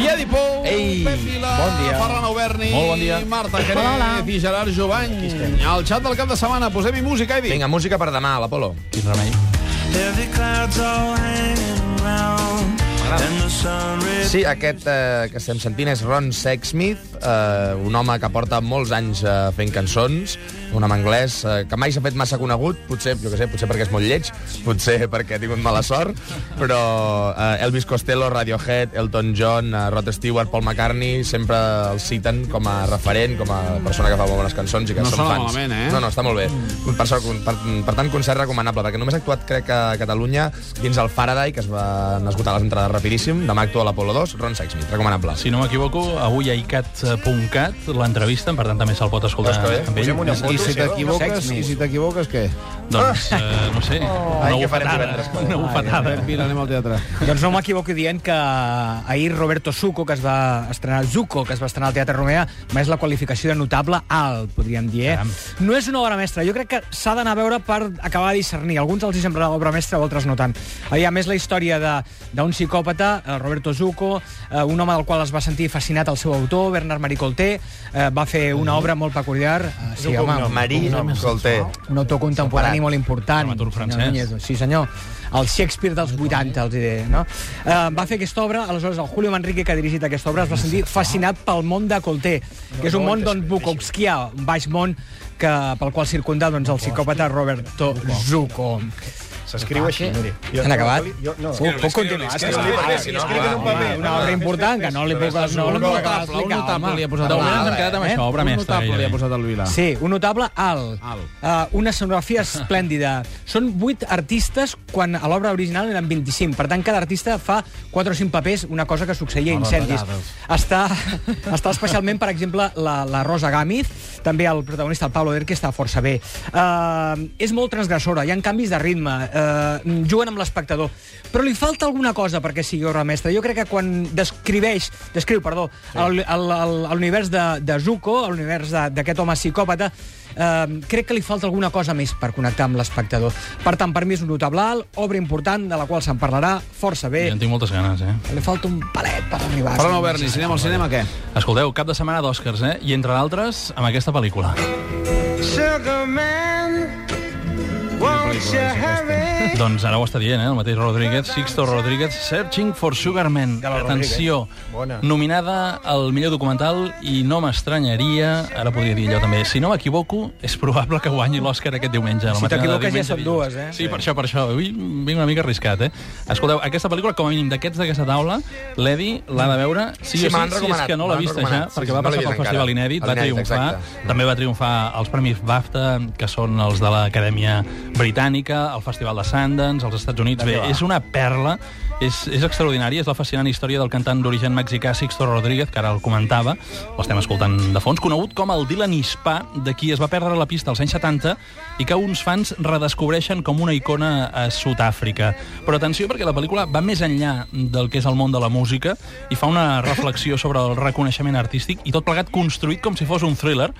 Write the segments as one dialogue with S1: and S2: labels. S1: Xavi Pou,
S2: Ei,
S1: Pep Vila,
S2: bon dia.
S1: Ferran Auberni,
S2: Molt bon dia.
S1: Marta Jerez i Gerard Jovany. Al xat del cap de setmana posem-hi música, Evi.
S2: Vinga, música per demà, l'Apolo.
S3: Quin remei.
S4: Heavy clouds all hanging round, and the sun rays
S2: Sí, aquest eh, que estem sentint és Ron Sexsmith, eh, un home que porta molts anys eh, fent cançons, un home anglès eh, que mai s'ha fet massa conegut, potser, jo què sé, potser perquè és molt lleig, potser perquè ha tingut mala sort, però eh, Elvis Costello, Radiohead, Elton John, eh, Rod Stewart, Paul McCartney, sempre el citen com a referent, com a persona que fa molt bones cançons i que
S1: No
S2: són
S1: sona
S2: fans.
S1: malament, eh?
S2: No, no, està molt bé. Per, sort, per, per tant, concert recomanable, perquè només ha actuat, crec, que a Catalunya dins el Faraday, que es van esgotar les entrades rapidíssim. Demà actua a l'Apolo 2, Ron Sexsmith, recomanable.
S3: Si no m'equivoco, avui a icat.cat l'entrevisten, per tant també se'l pot escoltar
S2: Veus que bé?
S3: amb ell.
S2: Posem una
S5: I si t'equivoques, i si t'equivoques, què?
S3: Doncs, eh, no sé, una
S2: Ai, què farem
S3: bufetada.
S2: divendres?
S3: Una bufetada.
S1: Vila, anem al teatre.
S6: Doncs no m'equivoco dient que ahir Roberto Zucco, que es va estrenar, Zucco, que es va estrenar al Teatre Romea, és la qualificació de notable alt, podríem dir. Eh?
S3: Caram.
S6: No és una obra mestra. Jo crec que s'ha d'anar a veure per acabar de discernir. Alguns els hi semblarà obra mestra, altres no tant. Hi ha més la història de- d'un psicòpata, eh, Roberto Zucco, eh, un home del qual es va sentir fascinat el seu autor, Bernard Marie Colté, eh, va fer una obra molt peculiar. Eh, sí, home,
S2: Marí, escolta,
S6: un autor contemporani molt important.
S3: Dramaturg
S6: senyor
S3: francès.
S6: Núñez. Sí, senyor. El Shakespeare dels 80, els diré, no? Eh, va fer aquesta obra, aleshores el Julio Manrique, que ha dirigit aquesta obra, es va sentir fascinat pel món de Colté, que és un món d'on Bukowski, un baix món que, pel qual circunda doncs, el psicòpata Roberto Zucco.
S5: S'escriu
S1: Ah,
S5: així. Jo-
S6: Han acabat?
S5: Jo, no.
S6: Puc, puc continuar? És que
S2: escriu,
S6: va,
S2: escriu,
S6: va,
S2: escriu en un
S6: va,
S5: paper.
S6: Una obra important, que no li puc, no li puc acabar d'explicar. home.
S3: De moment ens hem quedat amb això, obra mestra.
S1: Notable li ha
S3: gairebé.
S1: posat el Vila.
S6: Sí, un notable alt.
S1: Alt.
S6: Uh, una escenografia esplèndida. Són vuit artistes quan a l'obra original eren 25. Per tant, cada artista fa quatre o cinc papers, una cosa que succeïa a incendis. Està, està especialment, per exemple, la, la Rosa Gámez, també el protagonista, el Pablo Derque, està força bé. Uh, és molt transgressora, hi ha canvis de ritme, uh, juguen amb l'espectador. Però li falta alguna cosa perquè sigui obra mestra. Jo crec que quan descriveix, descriu, perdó, el- el- el- a l'univers de, de Zuko, a l'univers de- d'aquest home psicòpata, eh, crec que li falta alguna cosa més per connectar amb l'espectador. Per tant, per mi és un notable alt, obra important, de la qual se'n parlarà força bé.
S3: Jo en tinc moltes ganes, eh?
S6: Li falta un palet per arribar.
S1: Ferran Auberni, si anem al cinema, què?
S3: Escolteu, cap de setmana d'Oscars, eh? I entre d'altres, amb aquesta pel·lícula.
S4: Sugar man, won't you hurry?
S3: Doncs ara ho està dient, eh? El mateix Rodríguez, Sixto Rodríguez, Searching for Sugar Man. Atenció,
S5: Bona.
S3: nominada al millor documental i no m'estranyaria, ara podria dir allò també, si no m'equivoco, és probable que guanyi l'Oscar aquest diumenge. a la
S6: Si
S3: matinada
S6: t'equivoques ja
S3: diumenge
S6: són
S3: dilluns.
S6: dues, eh?
S3: Sí, per això, per això. Avui vinc una mica arriscat, eh? Escolteu, aquesta pel·lícula, com a mínim d'aquests d'aquesta taula, l'Edi l'ha de veure. Sí,
S2: Sí,
S3: o
S2: me l'han
S3: sí, si és
S2: recomanat,
S3: que no
S2: me
S3: l'ha
S2: l'han
S3: vista ja,
S2: recomanat. Sí,
S3: perquè
S2: sí,
S3: va
S2: no l'he
S3: passar
S2: vist
S3: pel Festival
S2: encara.
S3: Inèdit, va
S2: El Inèdit,
S3: triomfar,
S2: exacte.
S3: també va triomfar als Premis BAFTA, que són els de l'Acadèmia Britànica, el Festival de Sundance, als Estats Units. Bé, és una perla, és, és extraordinària, és la fascinant història del cantant d'origen mexicà Sixto Rodríguez, que ara el comentava, l'estem escoltant de fons, conegut com el Dylan Hispà, de qui es va perdre la pista als anys 70 i que uns fans redescobreixen com una icona a Sud-àfrica. Però atenció, perquè la pel·lícula va més enllà del que és el món de la música i fa una reflexió sobre el reconeixement artístic i tot plegat construït com si fos un thriller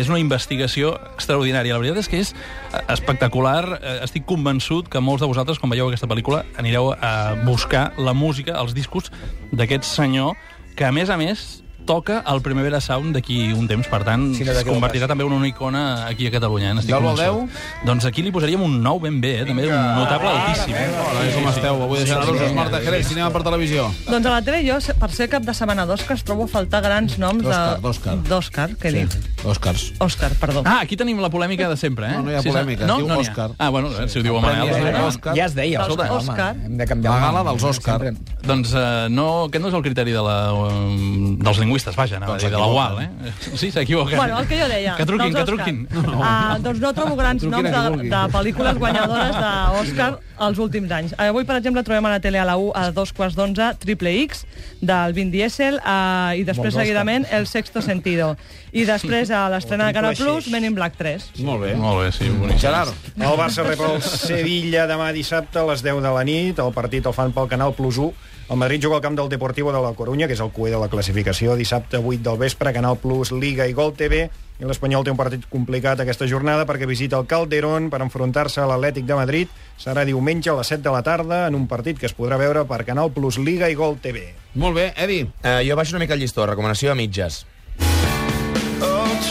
S3: és una investigació extraordinària. La veritat és que és eh, espectacular. Eh, Estic convençut que molts de vosaltres, quan veieu aquesta pel·lícula, anireu a buscar la música, els discos d'aquest senyor, que, a més a més, toca el Primavera Sound d'aquí un temps. Per tant,
S5: Sí, no,
S3: es
S5: d'aquí un
S3: convertirà també en una icona aquí a Catalunya. eh? N'estic
S1: Del u al
S3: convençut. Doncs aquí li posaríem un 9 ben bé, eh? també un notable altíssim. Eh?
S1: Hola, com esteu? Avui deixarà-nos Marta Jerez, cinema per televisió.
S7: Doncs a la tele jo, per ser cap de setmana d'Òscars, trobo a faltar grans noms
S1: D'Òscar,
S7: de-
S1: d'Òscar.
S7: D'Òscar, què he dit?
S1: Òscars.
S7: Òscar, perdó.
S3: Ah, aquí tenim la polèmica de sempre, eh?
S1: No, no hi ha
S3: Sí, sí.
S1: polèmica, es
S3: No,
S1: diu
S3: no n'hi ha.
S1: Òscar.
S3: Ah, bueno, eh, si ho diu a Manel.
S1: Premi
S3: eh?
S1: Òscar.
S6: Ja es deia,
S7: Dels
S6: Òscar. home.
S7: Òscar.
S6: Hem de canviar
S1: La
S6: el nom.
S1: gala dels Òscar.
S6: Sempre.
S3: Doncs eh, no, aquest no és el criteri de la, um, dels lingüistes, vaja, anava
S1: Doncs
S3: a dir, de la UAL, eh? Sí, s'equivoquen.
S7: Bueno, el que jo deia.
S3: Que truquin,
S7: dels
S3: que
S7: Òscar.
S3: truquin.
S7: Ah, doncs no trobo grans
S1: Truquin a
S7: noms
S1: qui
S7: de,
S1: vulgui.
S7: de pel·lícules guanyadores d'Òscar els últims anys. Eh, Avui, per exemple, trobem a la tele a la 1 a dos quarts d'onze Triple X, del Vin Diesel, eh, i després, seguidament, El Sexto Sentido. I després, és a l'estrena de Canal Plus, Men in Black 3.
S1: Molt bé.
S3: Molt bé, sí, boníssim.
S1: Gerard,
S5: El Barça rep el Sevilla demà dissabte a les 10 de la nit. El partit el fan pel Canal Plus 1. El Madrid juga al camp del Deportivo de la Coruña, que és el cué de la classificació, dissabte 8 del vespre, Canal Plus, Liga i Gol TV. I l'Espanyol té un partit complicat aquesta jornada perquè visita el Calderón per enfrontar-se a l'Atlètic de Madrid. Serà diumenge a les 7 de la tarda en un partit que es podrà veure per Canal Plus, Liga i Gol TV.
S1: molt bé, Edi.
S2: Eh, jo baixo una mica el llistó, recomanació a mitges.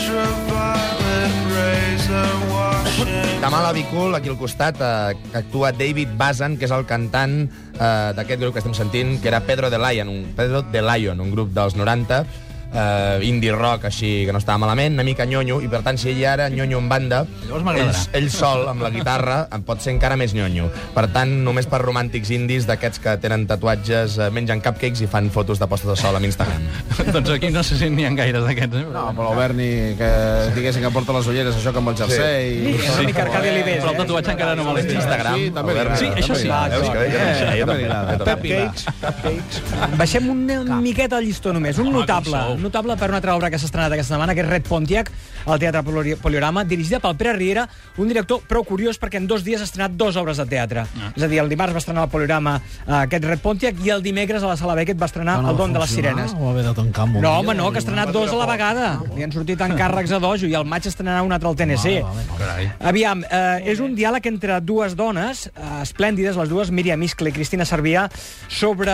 S4: Ultraviolet razor washing.
S2: Demà a la Bicul, aquí al costat, eh, actua David Bazan, que és el cantant eh, d'aquest grup que estem sentint, que era Pedro de Lion, un, Pedro de Lion, un grup dels 90, eh, indie rock, així, que no estava malament, una mica nyonyo, i per tant, si ell ara nyonyo en banda,
S3: Llavors
S2: ell,
S3: m'agradarà.
S2: ell sol, amb la guitarra, en pot ser encara més nyonyo. Per tant, només per romàntics indis, d'aquests que tenen tatuatges, eh, mengen cupcakes i fan fotos de postes de sol a Instagram.
S3: doncs aquí no sé si n'hi ha gaires d'aquests. Eh?
S1: No, però el Berni, que diguéssim que porta les ulleres, això que amb el jersei...
S6: Sí, una mica Arcadi Oliveres,
S3: Però el
S6: eh?
S3: tatuatge encara no me l'he fet.
S2: Instagram.
S1: Sí, també
S2: el Berni.
S1: li
S3: Sí,
S1: agrada,
S3: això
S1: també
S3: sí.
S1: li agrada. Eh,
S2: Veus que bé, que no sé, jo també.
S5: Cupcakes, cupcakes.
S6: Baixem una miqueta al llistó només. Un notable,
S3: com sou.
S6: un notable per una altra obra que s'ha estrenat aquesta setmana, que és Red Pontiac, al Teatre Polori- Poliorama, dirigida pel Pere Riera, un director prou curiós perquè en dos dies ha estrenat dues obres de teatre.
S3: Ah.
S6: És a dir, el dimarts va estrenar al Poliorama eh, aquest Red Pontiac i el dimecres a la Sala Beckett va estrenar El don de les sirenes.
S8: O haver de tancar amb un
S6: No,
S8: dia?
S6: home, no, que ha estrenat dos a la vegada. Li han sortit encàrrecs a dojo i al maig estrenarà un altre al TNC.
S3: Carai.
S6: Aviam, eh, és un diàleg entre dues dones, eh, esplèndides, les dues, Míriam Iscle i Cristina Servià, sobre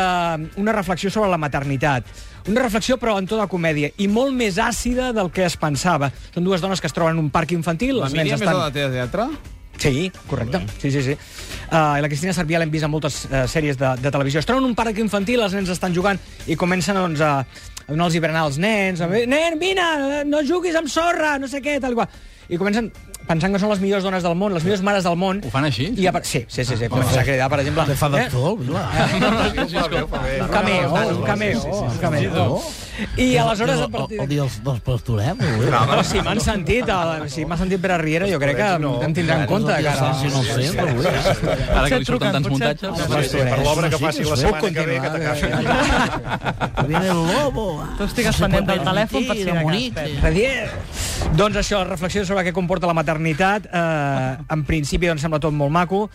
S6: una reflexió sobre la maternitat. Una reflexió, però, en tota comèdia, i molt més àcida del que es pensava. Són dues dones que es troben en un parc infantil,
S1: La
S6: els nens
S1: Doncs Míriam és
S6: estan...
S1: la de teva teatre?
S6: Sí, correcte. Sí, sí, sí. Uh, la Cristina Servià l'hem vist a moltes uh, sèries de, de televisió. Es troben en un parc infantil, els nens estan jugant i comencen doncs, a a donar-los berenar als nens. A... Nen, vine, eh, no juguis amb sorra, no sé què, tal i qual. I comencen pensant que són les millors dones del món, les millors mares del món.
S3: Ho fan així?
S6: I a... par- Sí, sí, sí, sí. Comença a cridar, per exemple...
S8: Te fa de
S6: eh?
S8: tot, clar.
S6: Un cameo, un cameo, un cameo. I aleshores... a partir
S8: O, o
S6: d'aquí-
S8: dir els dos pastorem. No,
S6: No, si m'han sentit, eh, si m'ha sentit Pere Riera, jo crec que em, em tindrà en compte. Que ara...
S8: Si no el sent, avui.
S3: Ara que li surten tants
S7: Potser et truquen,
S3: muntatges...
S5: Sí, sí, per l'obra que
S8: Sí,
S5: faci
S8: sí,
S5: la
S8: sí.
S5: setmana
S8: Puc eh?
S5: que ve, que t'acabin.
S6: eh?
S8: Viene el lobo.
S7: Tu estigues pendent del telèfon per si de cas.
S8: Monique.
S7: Pep.
S6: Javier. Doncs això, reflexió sobre què comporta la maternitat. Eh, en principi, doncs, sembla tot molt maco,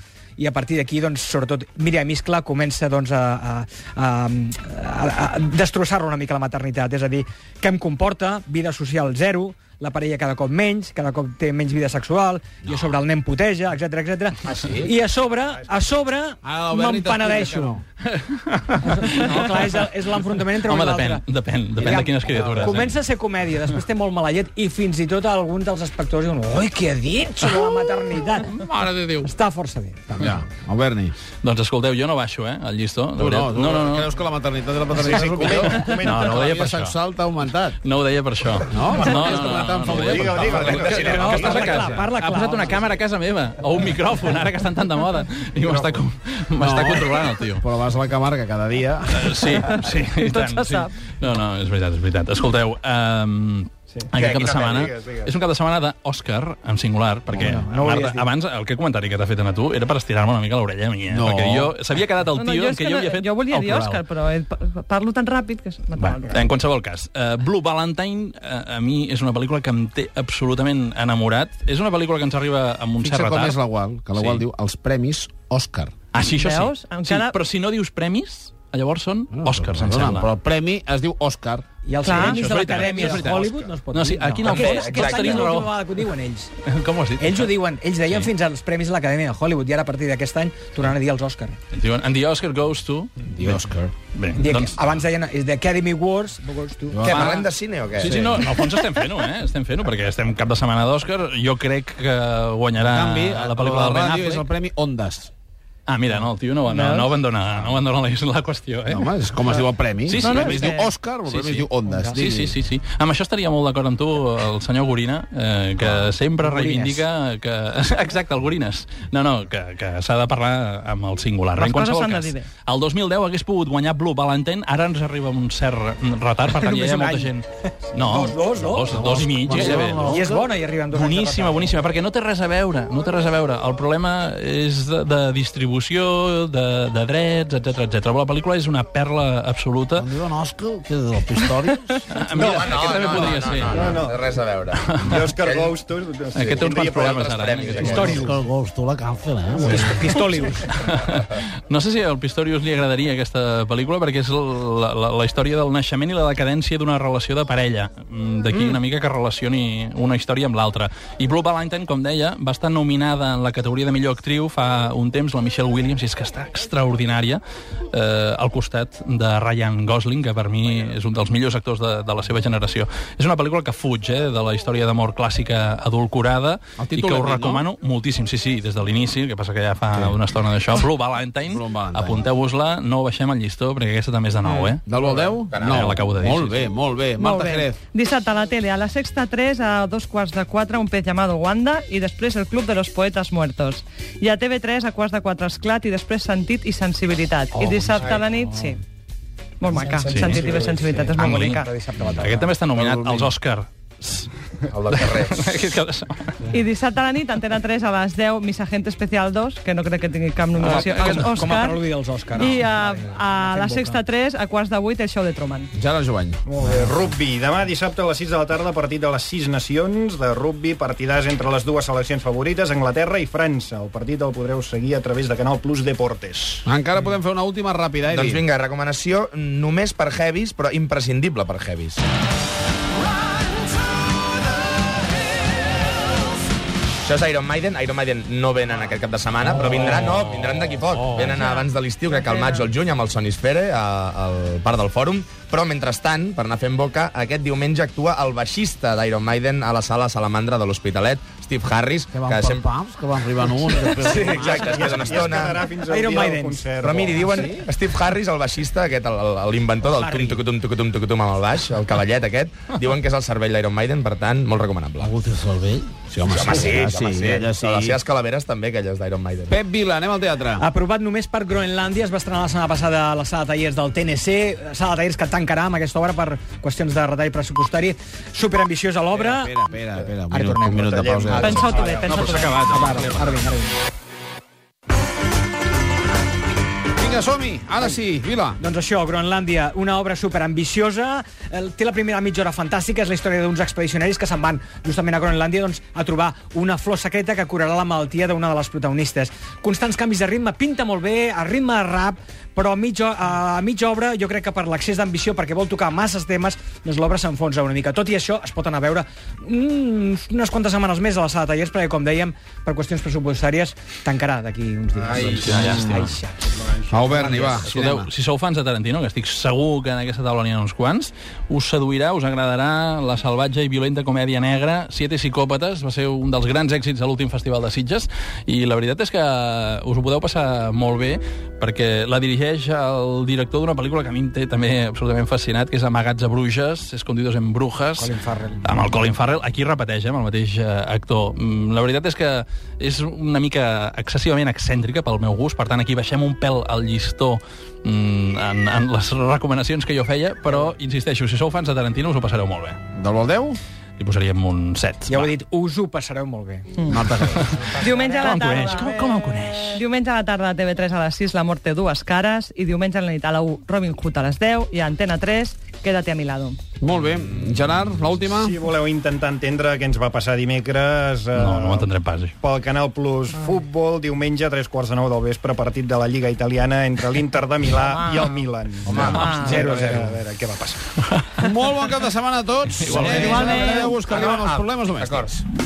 S6: i a partir d'aquí, doncs, sobretot, Míriam Iscla comença doncs, a, a, a, a, a destrossar-la una mica la maternitat. És a dir, què em comporta? Vida social zero, la parella cada cop menys, cada cop té menys vida sexual, no. i a sobre el nen puteja, etc etc. Ah, sí? Ah, I a sobre, a sobre,
S1: Ara l'Albert ni t'explica que
S6: m'empenedeixo.
S1: no.
S6: No, clar, és, és l'enfrontament entre
S3: Home,
S6: un i l'altre.
S3: depèn, depèn, depèn de quines criatures. eh?
S6: Comença a ser comèdia, després té molt mala llet i fins i tot algun dels espectadors diuen «Ui, què ha dit sobre la maternitat?»
S1: Mare de Déu.
S6: Està força bé. també.
S1: Ja, el Berni.
S3: Eh? Doncs escolteu, jo no baixo, eh, al llistó.
S1: Tu
S3: de
S1: no,
S3: veritat.
S1: tu
S3: no, no, no.
S1: creus que la maternitat i la paternitat és
S5: Sí, sí,
S1: el millor?
S5: comenta, comenta.
S3: No, no ho
S1: La
S3: deia
S1: vida
S3: per això.
S1: sexual t'ha augmentat.
S3: No ho deia per això.
S1: No?
S3: no, no, no,
S1: Aquesta
S3: no,
S1: tan
S3: no, ho
S1: famosa.
S3: deia per això.
S5: Digue-ho, digue-ho, digue-ho.
S6: No,
S3: Que estàs a
S6: parla
S3: casa.
S6: clar, parla
S3: ha
S6: clar.
S3: posat una càmera a casa meva, o un micròfon, ara que estan tan de moda. I m'està com- m'està controlant, el tio.
S1: Però vas a la Camarga cada dia.
S3: Sí, sí, i tant. Sí. No, no, és veritat, és veritat. Escolteu, um, sí.
S5: Què,
S3: aquest cap
S5: quina
S3: de setmana...
S5: pel·li? Digues, digues.
S3: És un cap de setmana d'Òscar, en singular, perquè no, no, Marta, abans el que comentari que t'ha fet a tu era per estirar-me una mica l'orella a mi, eh?
S1: No.
S3: Perquè jo... S'havia quedat el
S7: No, no,
S3: tio
S7: jo,
S3: en
S7: és
S3: què
S7: que
S3: jo
S7: no,
S3: havia fet
S7: jo volia
S3: el
S7: dir
S3: plural.
S7: Òscar, però he- pa- parlo tan ràpid que...
S3: Va, en qualsevol cas, uh, Blue Valentine uh, a mi és una pel·lícula que em té absolutament enamorat. És una pel·lícula que ens arriba amb un
S1: Fixa
S3: cert
S1: com
S3: retard.
S1: és la Gual, que la Gual
S3: Sí.
S1: diu els premis Òscar.
S3: Ah, sí, això
S7: Veus?
S3: sí.
S7: Encara-
S3: sí. Però si no dius premis, llavors són Òscars, em
S1: Perdona,
S3: sembla.
S1: Però el premi es diu Òscar.
S6: I els
S7: Clar,
S6: premis
S3: això és
S6: de
S3: veritat,
S6: l'Acadèmia
S3: això és
S6: de
S3: veritat.
S6: Hollywood no es pot
S3: No, sí,
S6: dir.
S3: aquí no, eh,
S6: Aquest-
S3: exacte,
S6: Aquest any és
S3: tens raó.
S6: l'última vegada que ho diuen ells.
S3: Com ho has dit?
S6: Ells ho diuen, ells deien fins als premis de l'Acadèmia de Hollywood i ara a partir d'aquest any tornaran a dir els Òscar.
S3: Ens diuen, and the Oscar goes to...
S1: Diu Òscar.
S3: Bé,
S6: Dir
S3: doncs...
S6: que Abans deien és the Academy Wars, Awards tu.
S2: Què, parlem de cine o què?
S3: Sí, sí, no, en el fons estem fent-ho, eh? Estem fent-ho, perquè estem cap de setmana d'Òscar. Jo crec que guanyarà
S1: En canvi,
S3: Ah, la pel·lícula del Ben
S1: ràdio és el
S3: Affleck.
S1: premi Ondas.
S3: Ah, mira, no, el tio no, no, no abandona, no abandona la, la qüestió, eh?
S1: No, home, és com es diu el premi.
S3: Sí, sí,
S1: el
S3: no,
S1: premi
S3: és
S1: es
S3: que-
S1: diu Òscar, el
S3: Sí,
S1: premi
S3: sí.
S1: es diu Ondas.
S3: Sí, sí, sí, sí. Amb això estaria molt d'acord amb tu el senyor Gorina, eh, que sempre reivindica que... Exacte, el Gorines. No, no, que, que s'ha de parlar amb el singular.
S7: Les
S3: En
S7: coses
S3: qualsevol
S7: s'han de
S3: cas,
S7: dir bé.
S3: El 2010 hagués pogut guanyar Blue Valentine, ara ens arriba amb un cert retard, per tant, ja hi
S5: Només
S3: ha
S5: un
S3: molta
S5: any.
S3: gent... No,
S6: Dos, dos, no?
S3: dos, dos i mig, ja bé.
S6: I és bona i arriben dos anys de retard.
S3: Boníssima, boníssima, perquè no té res a veure, no té res a veure. El problema és de, de distribució, de, de drets, etc etc. Però la pel·lícula és una perla absoluta.
S8: Em diuen Òscar, que és del Pistorius.
S3: Ah, Mira, no, aquest també podria
S2: no,
S3: ser.
S2: No, no, no, no, res a veure.
S5: Jo, Òscar
S2: Aquell-
S5: Gous, tu... No sé,
S3: Aquest té uns quants
S5: tindria
S3: problemes
S2: altres
S3: ara. eh,
S2: premis,
S3: aquest-
S2: aquest.
S8: Pistorius. Òscar Gous, tu la càncel, eh? Sí.
S6: Pistolius.
S3: No sé si al Pistorius li agradaria aquesta pel·lícula, perquè és la, la, la història del naixement i la decadència d'una relació de parella. Mm, D'aquí mm. una mica que relacioni una història amb l'altra. I Blue Valentine, com deia, va estar nominada en la categoria de millor actriu fa un temps, la Michelle Williams, i és que està extraordinària, eh, al costat de Ryan Gosling, que per mi és un dels millors actors de, de la seva generació. És una pel·lícula que fuig eh, de la història d'amor clàssica edulcorada
S1: El
S3: i
S1: títol
S3: que
S1: l'hem
S3: us
S1: dit, no?
S3: recomano moltíssim, sí, sí, des de l'inici, el que passa que ja fa una estona d'això. Blue Valentine,
S1: Blue Valentine. Doncs
S3: apunteu-vos-la, no baixem el llistó, perquè aquesta també és de nou, eh?
S1: Del 1 al 10?
S3: Caram, l'acabo de dir,
S1: Molt
S3: sí,
S1: bé, molt bé.
S7: Molt
S1: Marta
S7: bé.
S1: Jerez.
S7: Dissabte a la tele, a la sexta 3, a dos quarts de 4, un pez llamado Wanda, i després el Club de los Poetas Muertos. I a TV3, a quarts de 4, Esclat, i després Sentit i Sensibilitat. Oh, I dissabte a la nit, sí. Molt maca, sí, Sentit i Sensibilitat, és molt
S3: Angling.
S7: bonica.
S3: Aquest també està nominat als Òscar.
S2: El del carrer.
S3: Aquest cap de setmana.
S7: I dissabte a la nit, Antena 3, a les 10, Miss Agent Especial 2, que no crec que tingui cap nominació.
S6: Com- com
S7: Aquest
S6: a
S3: Doncs
S7: Òscar.
S6: preludi dels Òscar.
S7: I a, a la sexta 3, a quarts de 8, el show de Truman.
S1: Gerard Jovany.
S5: Molt bé, rugby. Demà dissabte a les 6 de la tarda, partit de les 6 nacions de rugby, partidàs entre les dues seleccions favorites, Anglaterra i França. El partit el podreu seguir a través de Canal Plus Deportes.
S3: Ah,
S1: Encara podem fer una última ràpida, Edi.
S2: Doncs vinga, recomanació només per heavies, però imprescindible per heavies. Això és Iron Maiden. Iron Maiden no venen aquest cap de setmana, però vindran, no, vindran d'aquí poc.
S3: Oh.
S2: Venen abans de l'estiu, crec que al maig o al juny, amb el Sonisfere, a- al parc del Fòrum. Però, mentrestant, per anar fent boca, aquest diumenge actua el baixista d'Iron Maiden a la sala Salamandra de l'Hospitalet, Steve Harris,
S8: Que van per
S2: sempre...
S8: pams, que van arribant un, que després...
S2: Sí, exacte,
S3: tota
S2: després d'una
S5: I es
S2: estona...
S5: quedarà fins al
S6: Iron
S5: dia
S6: Maiden.
S5: del concert.
S2: Però miri, diuen sí? Steve Harris, el baixista, aquest, el- el- l'inventor del tum-tucutum-tucutum-tucutum amb el baix, el cavallet aquest, diuen que és el cervell d'Iron Maiden, per tant, molt recomanable.
S8: Algú té cervell? Sí, home,
S2: Home, sí,
S8: allà
S2: sí, home, sí.
S8: allà
S2: Però Les seves calaveres també, aquelles d'Iron Maiden.
S1: Pep Vila, anem al teatre.
S6: Aprovat només per Groenlàndia, es va estrenar la setmana passada a la sala de tallers del TNC, sala de tallers que tancarà amb aquesta obra per qüestions de retall pressupostari. Superambiciosa l'obra.
S1: Espera, espera, espera. Un
S6: Ara
S1: minut,
S6: tornem.
S1: un minut de pausa.
S5: Tallem.
S7: Pensa-ho bé, pensa-ho bé.
S6: Ara vinc, ara vinc.
S1: Vinga, som-hi. Ara sí, Vila.
S6: Doncs això, Groenlàndia, una obra superambiciosa, eh, té la primera mitja hora fantàstica, és la història d'uns expedicionaris que se'n van justament a Groenlàndia doncs, a trobar una flor secreta que curarà la malaltia d'una de les protagonistes. Constants canvis de ritme, pinta molt bé, a ritme de rap, però a mitja, a mitja obra jo crec que per l'excés d'ambició, perquè vol tocar masses temes, doncs l'obra s'enfonsa una mica. Tot i això, es pot anar a veure mm, unes quantes setmanes més a la sala de tallers, perquè, com dèiem, per qüestions pressupostàries, tancarà d'aquí uns dies. Ai,
S3: Quina llàstima.
S1: Au, Berni, va.
S3: Escolteu, si sou fans de Tarantino, que estic segur que en aquesta taula n'hi ha uns quants, us seduirà, us agradarà la salvatge i violenta comèdia negra Siete psicòpates, va ser un dels grans èxits de l'últim festival de Sitges, i la veritat és que us ho podeu passar molt bé, perquè la dirigeix el director d'una pel·lícula que a mi em té també absolutament fascinat, que és Amagats a Bruges, Escondidos en Brujas,
S6: Colin Farrell.
S3: amb el Colin Farrell, aquí repeteix, eh, amb el mateix eh, actor. Mm, La veritat és que és una mica excessivament excèntrica pel meu gust, per tant aquí baixem un pèl al llistó mm, en, en les recomanacions que jo feia, però insisteixo, si sou fans de Tarantino us ho passareu molt bé.
S1: Del vol 10?
S3: Li posaríem un 7.
S6: Ja ho he dit, us ho passareu molt bé.
S1: Marta Jerez.
S7: Diumenge a la
S3: Com em
S7: tarda.
S3: coneix? Com, com em coneix?
S7: Diumenge a la tarda a TV3 a les 6, La mort té dues cares, i diumenge a la nit a la 1, Robin Hood a les 10, i a Antena 3, Quédate a mi lado.
S1: Molt bé. Gerard, l'última?
S5: Si voleu intentar entendre què ens va passar dimecres... eh,
S3: No, no ho entendrem pas, això.
S5: pel Canal Plus Futbol, diumenge a tres quarts de nou del vespre, partit de la Lliga Italiana entre l'Inter de Milà i el Milan. Home, 0-0. A veure què va passar.
S1: Molt bon cap de setmana a tots.
S3: Igualment.
S1: Eh, Adéu-vos, que arriben els problemes només.
S2: D'acord.